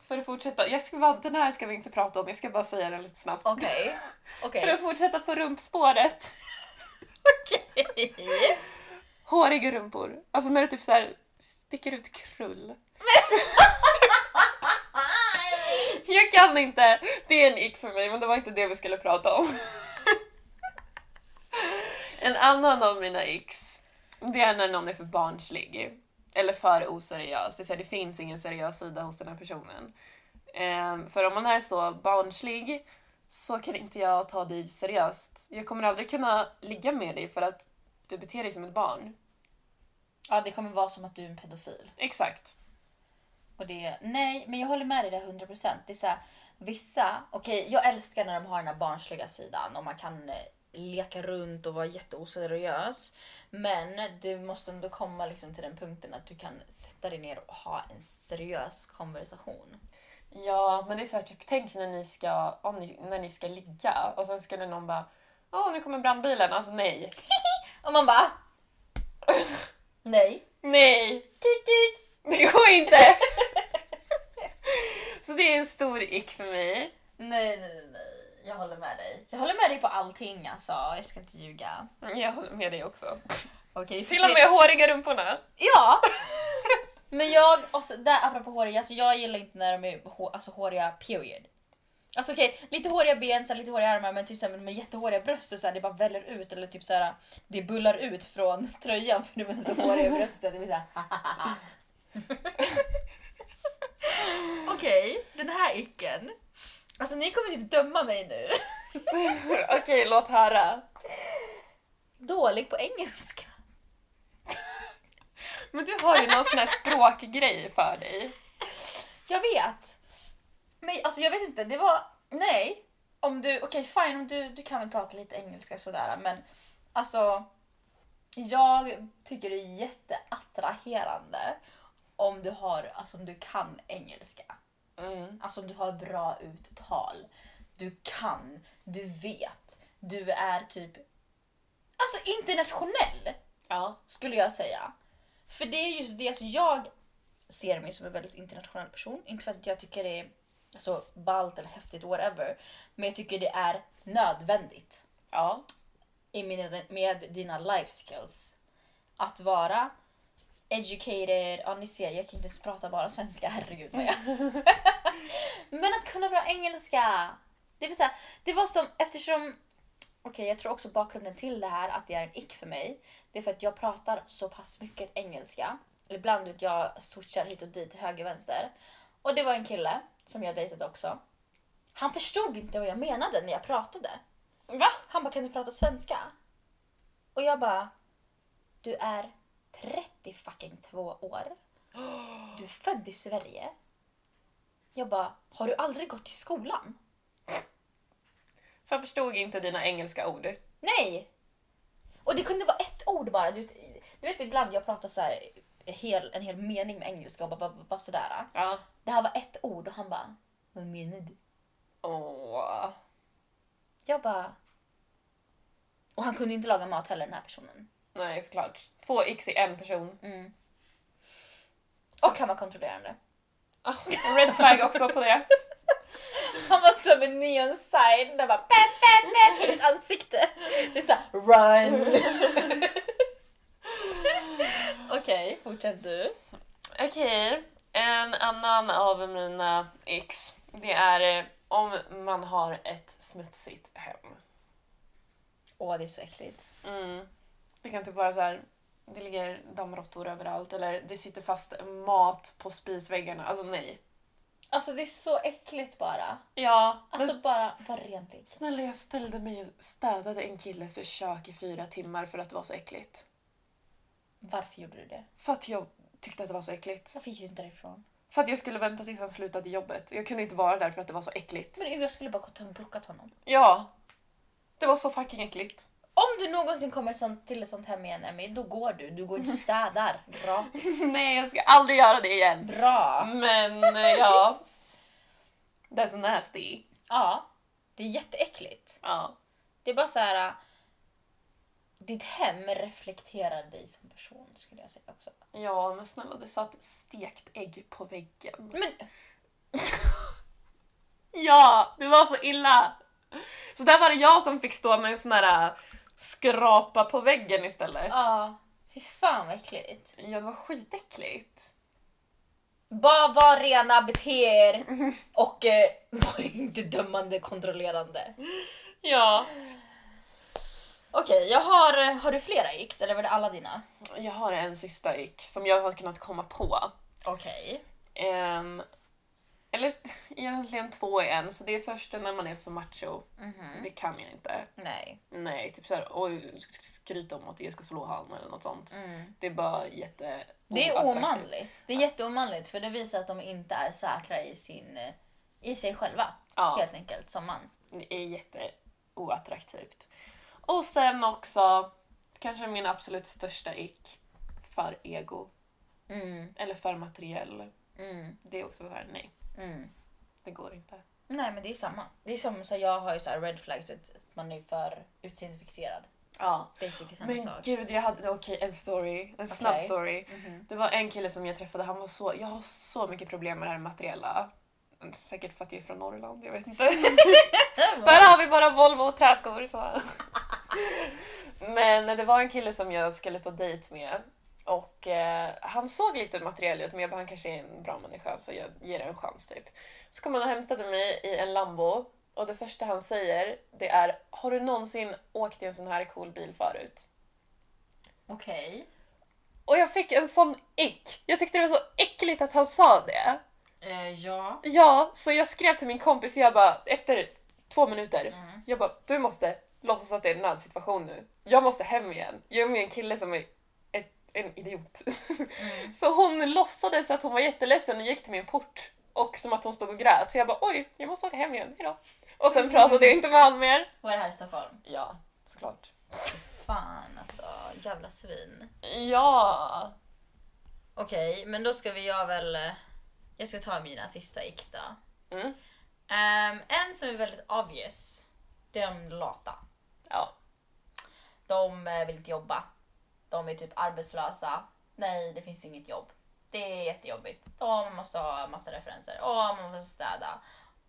För att fortsätta, jag ska bara, den här ska vi inte prata om, jag ska bara säga den lite snabbt. Okej. För Okej. att fortsätta på rumpspåret. [laughs] Okej. Håriga rumpor. Alltså när det typ så här sticker ut krull. Jag kan inte! Det är en ick för mig, men det var inte det vi skulle prata om. [laughs] En annan av mina icks, det är när någon är för barnslig. Eller för oseriös. Det, är så här, det finns ingen seriös sida hos den här personen. Ehm, för om man är så barnslig så kan inte jag ta dig seriöst. Jag kommer aldrig kunna ligga med dig för att du beter dig som ett barn. Ja, det kommer vara som att du är en pedofil. Exakt. Och det, nej, men jag håller med dig där 100%. Det är så här, vissa, okej jag älskar när de har den här barnsliga sidan och man kan eh, leka runt och vara jätteoseriös. Men du måste ändå komma liksom till den punkten att du kan sätta dig ner och ha en seriös konversation. Ja, men det är så här, typ, tänk när ni ska, om ni, när ni ska ligga och sen skulle någon bara Åh, nu kommer brandbilen. Alltså nej. Och man bara... [laughs] Nej. Nej! [laughs] Tut, tut. [laughs] Det går inte! så det är en stor ick för mig. Nej, nej, nej, nej. Jag håller med dig. Jag håller med dig på allting alltså. Jag ska inte ljuga. Mm, Jag håller med dig också. Okej, vi får Till och se. med håriga rumporna. [laughs] Ja! Men jag, också, där, apropå håriga, alltså jag gillar inte när de är hå, alltså, håriga period. Alltså okej, lite håriga ben, så här, lite håriga armar men typ så här, med jättehåriga bröst och så här, det bara väller ut eller typ så här, det bullar ut från [laughs] tröjan för de är så håriga i bröstet. Det blir så här, Okej, den här icken. Alltså ni kommer typ döma mig nu. [laughs] Okej, låt höra. Dålig på engelska. Men du har ju någon sån här språkgrej för dig. Jag vet. Men alltså jag vet inte, det var... Nej. Om du, okej fine, om du, du kan väl prata lite engelska sådär men alltså jag tycker det är jätteattraherande om du har, alltså om du kan engelska. Mm. Alltså om du har bra uttal. Du kan, du vet, du är typ alltså internationell Ja. skulle jag säga. För det är just det, som jag ser mig som en väldigt internationell person. Inte för att jag tycker det är alltså, ballt eller häftigt, whatever. Men jag tycker det är nödvändigt Ja. i med, med dina life skills. Att vara educated, ja ni ser jag kan inte ens prata bara svenska, [laughs] herregud vad jag... Men att kunna bra engelska! Det vill säga, det var som eftersom... Okej jag tror också bakgrunden till det här att det är en ick för mig. Det är för att jag pratar så pass mycket engelska. Ibland att jag switchar hit och dit, höger vänster. Och det var en kille som jag dejtade också. Han förstod inte vad jag menade när jag pratade. Va? Han bara, kan du prata svenska? Och jag bara, du är 30 fucking två år. Du är född i Sverige. Jag bara, har du aldrig gått i skolan? Så han förstod inte dina engelska ord. Nej! Och det kunde vara ett ord bara. Du, vet- du vet ibland jag pratar så här, hel, en hel mening med engelska och bara, bara, bara sådär. Ja. Det här var ett ord och han bara, vad menar du? Åh. Jag bara... Och han kunde inte laga mat heller den här personen. Nej, såklart. Två x i en person. Mm. Och han var kontrollerande. Ah. Red flag också på det. Han var som en neon sign där bara pep, pep, pep i mitt ansikte. Det är såhär run. [laughs] Okej, fortsätt du. Okej, en annan av mina ex. Det är eh, om man har ett smutsigt hem. Åh, det är så äckligt. Mm. Det kan typ vara så här. Det ligger dammråttor överallt eller det sitter fast mat på spisväggarna. Alltså nej. Alltså det är så äckligt bara. Ja, men Alltså bara, var renligt. Snälla jag ställde mig och städade en killes kök i fyra timmar för att det var så äckligt. Varför gjorde du det? För att jag tyckte att det var så äckligt. Varför gick du inte därifrån? För att jag skulle vänta tills han slutade jobbet. Jag kunde inte vara där för att det var så äckligt. Men jag skulle bara gått och blockat honom. Ja! Det var så fucking äckligt. Om du någonsin kommer ett sånt, till ett sånt hem igen Emmy, då går du. Du går inte och städar gratis. [laughs] Nej, jag ska aldrig göra det igen. Bra! Men eh, [laughs] ja, that's nasty. Ja, det är jätteäckligt. Ja. Det är bara så här. äh, Ditt hem reflekterar dig som person skulle jag säga också. ja, men snälla det satt stekt ägg på väggen. Men Ja, det var så illa! Så där var det jag som fick stå med en sån här äh, skrapa på väggen istället. ja, fy fan vad äckligt. Ja, det var skitäckligt. Bara var rena, bete er och eh, [laughs] var inte dömande kontrollerande. Ja. Okej, jag har, har du flera x eller var det alla dina? Jag har en sista ick som jag har kunnat komma på. Okej. Ehm, eller [laughs] egentligen två i en, så det är först när man är för macho. Det kan jag inte. Mhm. Nej. Nej, typ såhär oj, sk- sk- skryta om att jag ska slå han eller något sånt. Mm. Det är bara jätte... Det är oattraktivt. omanligt. Det är jätteomanligt för det visar att de inte är säkra i, sin, eh, i sig själva. Ja. Helt enkelt, som man. Det är jätteoattraktivt. Och sen också, kanske min absolut största ick, för ego. Mm, Eller för materiell. mm, Det är också såhär, nej. mm. Det går inte. Nej men det är samma. Det är som så här, jag har ju så här red flags, att man är för utseendefixerad. Ja. Basically samma Men sak. gud, jag hade... Okej, en story. En snabb Okej. story. Mhm. Det var en kille som jag träffade, han var så... Jag har så mycket problem med det här materiella. Säkert för att jag är från Norrland, jag vet inte. Där har vi bara Volvo och träskor. Så. Men det var en kille som jag skulle på dejt med och eh, han såg lite materiell ut men jag bara han kanske är en bra människa så jag ger det en chans typ. Så kom han och hämtade mig i en Lambo och det första han säger det är Har du någonsin åkt i en sån här cool bil förut? Okej. Och jag fick en sån ick! Jag tyckte det var så äckligt att han sa det. Eh, ja. Ja, så jag skrev till min kompis jag bara efter två minuter. Mm. Jag bara, du måste låtsas att det är en nödsituation nu. Jag måste hem igen. Jag är med en kille som är ett, en idiot. [laughs] Mm. Så hon låtsades att hon var jätteledsen och gick till min port. Och som att hon stod och grät. Så jag bara, oj, jag måste åka hem igen. Hejdå. Och sen pratade jag inte med han mer. Var det här i Stockholm? Mm. Ja, såklart. Fan alltså, jävla svin. Ja. Okej, men då ska vi jag väl... eh, Jag ska ta mina sista x då. Mm. Ehm, en som är väldigt obvious, det är de lata. Ja. De eh, vill inte jobba. De är typ arbetslösa. Nej, det finns inget jobb. Det är jättejobbigt. Åh, man måste ha massa referenser. Åh, man måste städa.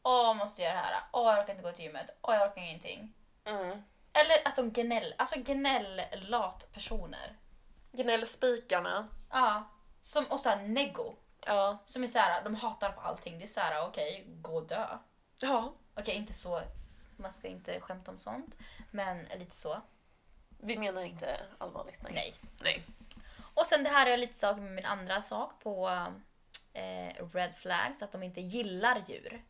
Åh, man måste göra det här. Åh, jag orkar inte gå till gymmet. Åh, jag orkar ingenting. Mm. Eller att de gnäll, alltså gnäll-lat personer. Gnällspikarna. Ja. Som, och såhär nego. Ja. Som är såhär, de hatar på allting. Det är såhär, okej, gå och dö. Ja. Okej, inte så. Man ska inte skämta om sånt. Men lite så. Vi menar inte allvarligt. Nej. Nej. Nej. Och sen det här är lite sak med min andra sak på eh, red flags, att de inte gillar djur.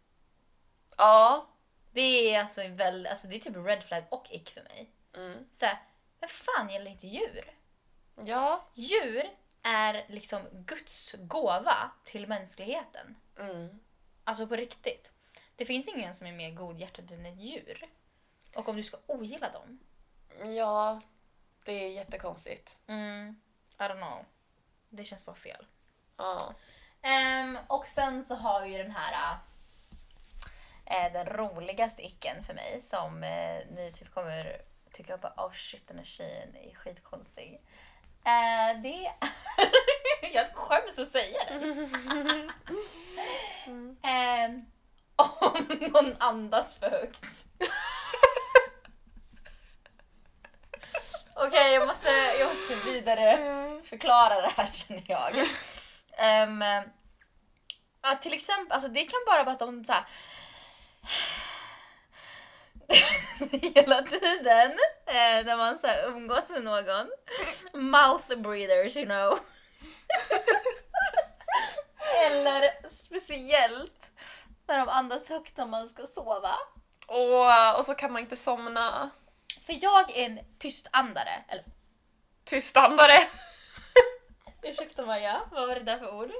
Ja. Det är alltså, en väl, alltså det är typ red flag och ick för mig. Mm. Så här, men fan gillar inte djur? Ja. Djur är liksom Guds gåva till mänskligheten. Mm. Alltså på riktigt. Det finns ingen som är mer godhjärtad än ett djur. Och om du ska ogilla dem. Ja. Det är jättekonstigt. Mm, I don't know. Det känns bara fel. Ja. Ehm, och sen så har vi ju den här eh, den roligaste icken för mig som eh, ni typ kommer tycka bara oh shit den här tjejen är skitkonstig. Eh, det [laughs] Jag skäms att säga det. Ehm, om någon andas för högt. Okej, jag, måste, jag måste vidare förklara det här [laughs] känner jag. Ehm, ja, till exempel, alltså det kan bara vara att de så här, [laughs] hela tiden eh, när man så här, umgås med någon. Mouth breathers you know. [laughs] Eller speciellt när de andas högt när man ska sova. Och, och så kan man inte somna. För jag är en tystandare. Eller Tystandare! Ursäkta Maja, vad var det där för ord?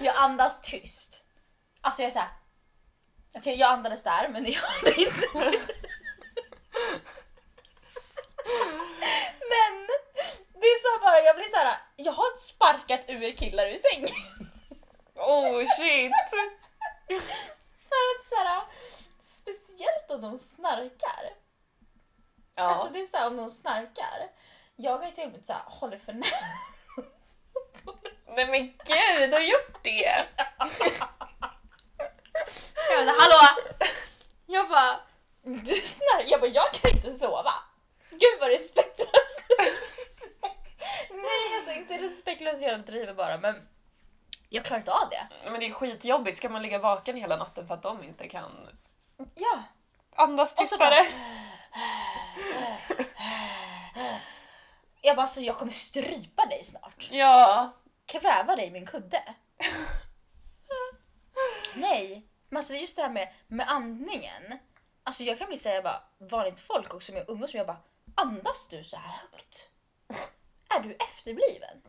Jag andas tyst. Alltså jag är såhär... Okej, jag andades där men jag hörde inte. men det är så här bara, jag blir så här. jag har sparkat ur killar ur säng. Oh shit! För att så här, speciellt om de snarkar. Ja. Alltså det är såhär om de snarkar. Jag har ju till och med såhär, håller för nära. Nej men gud, har du gjort det? Jag bara, hallå! Jag bara, du snarkar. Jag bara, jag kan inte sova. Gud vad respektlöst. Nej, alltså inte respektlöst, jag driver bara, men jag klarar inte av det. Men det är skitjobbigt, ska man ligga vaken hela natten för att de inte kan Ja. andas Och så tystare? Jag bara, alltså jag kommer strypa dig snart. Ja. Kväva dig i min kudde. Nej, men alltså just det här med, med andningen. Alltså jag kan bli säga bara, vanligt folk också som jag umgås med, jag bara, andas du så här högt? Är du efterbliven?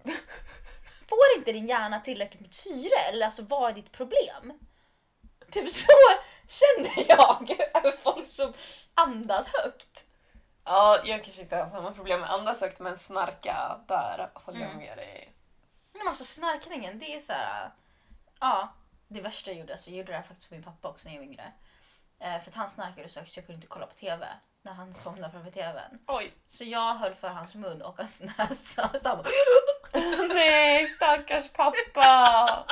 Får inte din hjärna tillräckligt med syre? Eller alltså vad är ditt problem? Typ så känner jag [laughs] över folk som andas högt. Ja, jag kanske inte har samma problem med andas högt men snarka, Mm. där håller jag med dig. Nej, men alltså snarkningen, det är så här. äh, Ja, det värsta jag gjorde, så jag gjorde det här faktiskt på min pappa också när jag var yngre. Eh, för att han snarkade så högt så jag kunde inte kolla på TV när han somnade framför TVn. Oj! Så jag höll för hans mun och hans [laughs] näsa. Så han bara, [laughs] Nej, stackars pappa!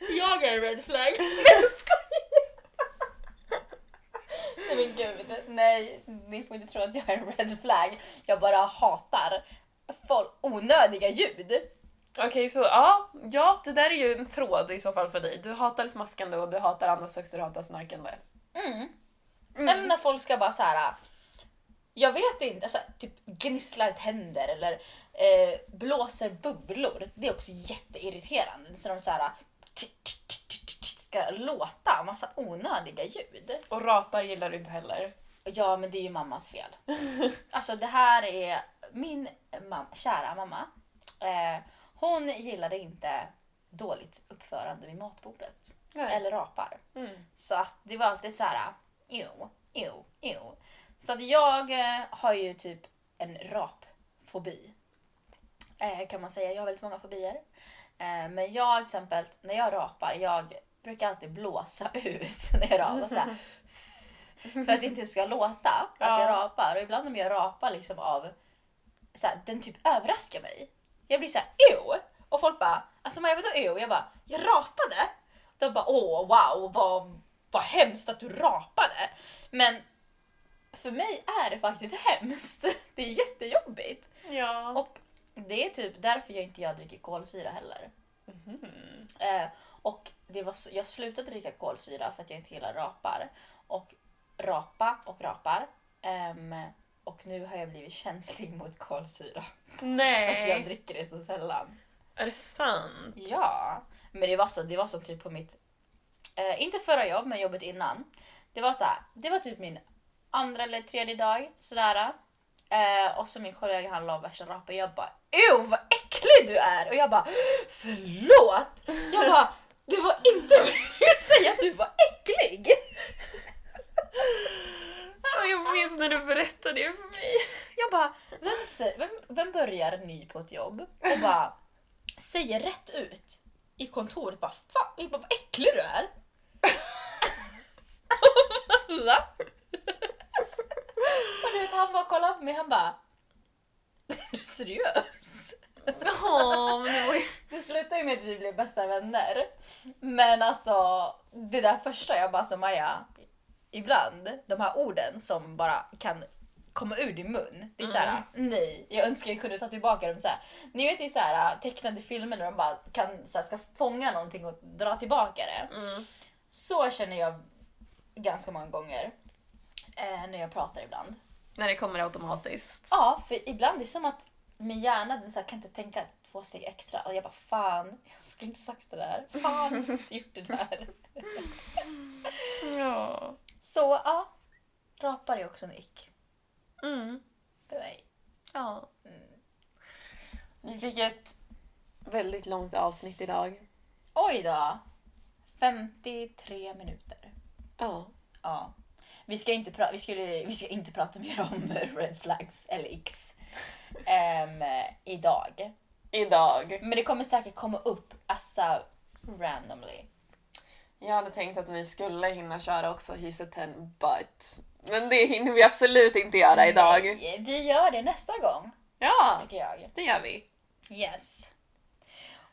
[laughs] jag är en red flag. Nej men gud, nej ni får inte tro att jag är en red flag. Jag bara hatar folk, onödiga ljud. Okej, så ja, ja, det där är ju en tråd i så fall för dig. Du hatar smaskande och du hatar andras högt och du hatar snarkande. Mm. Eller när folk ska bara så här. Jag vet inte, alltså, typ gnisslar tänder eller eh, blåser bubblor. Det är också jätteirriterande. Så de så här, t- t- t- t- t- t- ska låta massa onödiga ljud. Och rapar gillar du inte heller. Ja, men det är ju mammas fel. Alltså det här är min mam- kära mamma. Eh, hon gillade inte dåligt uppförande vid matbordet. Nej. Eller rapar. Mm. Så att det var alltid så här, jo, jo, jo. Så att jag eh, har ju typ en rapfobi. Eh, kan man säga. Jag har väldigt många fobier. Eh, men jag till exempel, när jag rapar, jag brukar alltid blåsa [laughs] ut när jag rapar. Så här, för att det inte ska låta att Ja. jag rapar. Och ibland om jag rapar liksom av, så här, den typ överraskar mig. Jag blir så här, ew! Och folk bara, alltså Maja vadå ew? Jag bara, jag rapade! De bara, åh wow, vad, vad hemskt att du rapade! Men för mig är det faktiskt [laughs] hemskt. Det är jättejobbigt. Ja. Och det är typ därför jag inte jag dricker kolsyra heller. Eh, och det var, så- jag slutade dricka kolsyra för att jag inte gillar rapar. Och rapa och rapar. Ehm, och nu har jag blivit [laughs] känslig mot kolsyra. För att jag Nej. dricker det så sällan. Är det sant? Ja, men det var så, det var så typ på mitt, eh, inte förra jobb men jobbet innan. Det var så här, det var typ min andra eller tredje dag sådär. Eh, och så min kollega han la värsta rapen jag bara Ew vad äcklig du är! Och jag bara förlåt! Jag bara det var inte [laughs] jag säga att du var äcklig! Ja, Jag minns när du berättade det för mig. Jag bara vem, sä- vem, vem börjar ny på ett jobb och bara säger rätt ut i kontoret bara fan jag bara, vad äcklig du är! Va? Och du vet, han bara kollade på mig han bara... [laughs] Är du seriös? Ja, men det var ju... Det slutade ju med att vi blev bästa vänner. Men alltså, det där första jag bara alltså Maja, ibland, de här orden som bara kan komma ur din mun. Det är såhär, nej. Jag önskar jag kunde ta tillbaka dem såhär. Ni vet i såhär äh, tecknade filmer där de bara kan, såhär, ska fånga någonting och dra tillbaka det. Mm. Så känner jag ganska många gånger eh, när jag pratar ibland. När det kommer automatiskt. Ja, för ibland är det som att min hjärna den så här, kan inte tänka två steg extra. Och jag bara fan, jag skulle inte sagt det där. Fan, jag skulle inte gjort det där. Ja. Så ja, rapar är också en ick Mm. för mig. Ja. Mm. Vi fick ett väldigt långt avsnitt idag. Oj då! 53 minuter. Ja. Ja. Vi ska inte, pra- vi skulle, vi ska inte prata mer om [laughs] red flags eller icks ehm, idag. Idag. Men det kommer säkert komma upp, alltså randomly. Jag hade tänkt att vi skulle hinna köra också He's a ten but. Men det hinner vi absolut inte göra idag. Nej, Vi gör det nästa gång, Ja, tycker jag. det gör vi. Yes.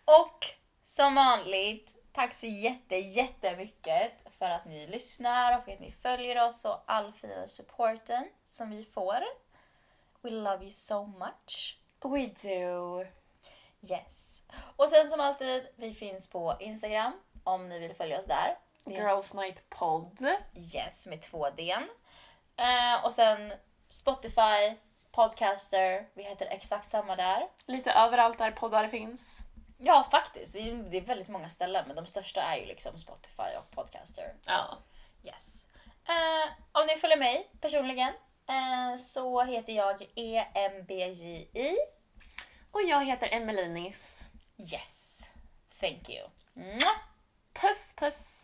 Och som vanligt, tack så jätte, jättemycket för att ni lyssnar och för att ni följer oss och all fina supporten som vi får. We love you so much. We do. Yes. Och sen som alltid, vi finns på Instagram om ni vill följa oss där. Girls Night Pod. Yes, med två D. Eh, och sen Spotify, Podcaster, vi heter exakt samma där. Lite överallt där poddar finns. Ja, faktiskt. Det är- det är väldigt många ställen, men de största är ju liksom Spotify och Podcaster. Ja. Yes. Eh, om ni följer mig personligen eh, så heter jag E EMBJI. Och jag heter Emelinis. Yes. Thank you. Mwah! Puss puss!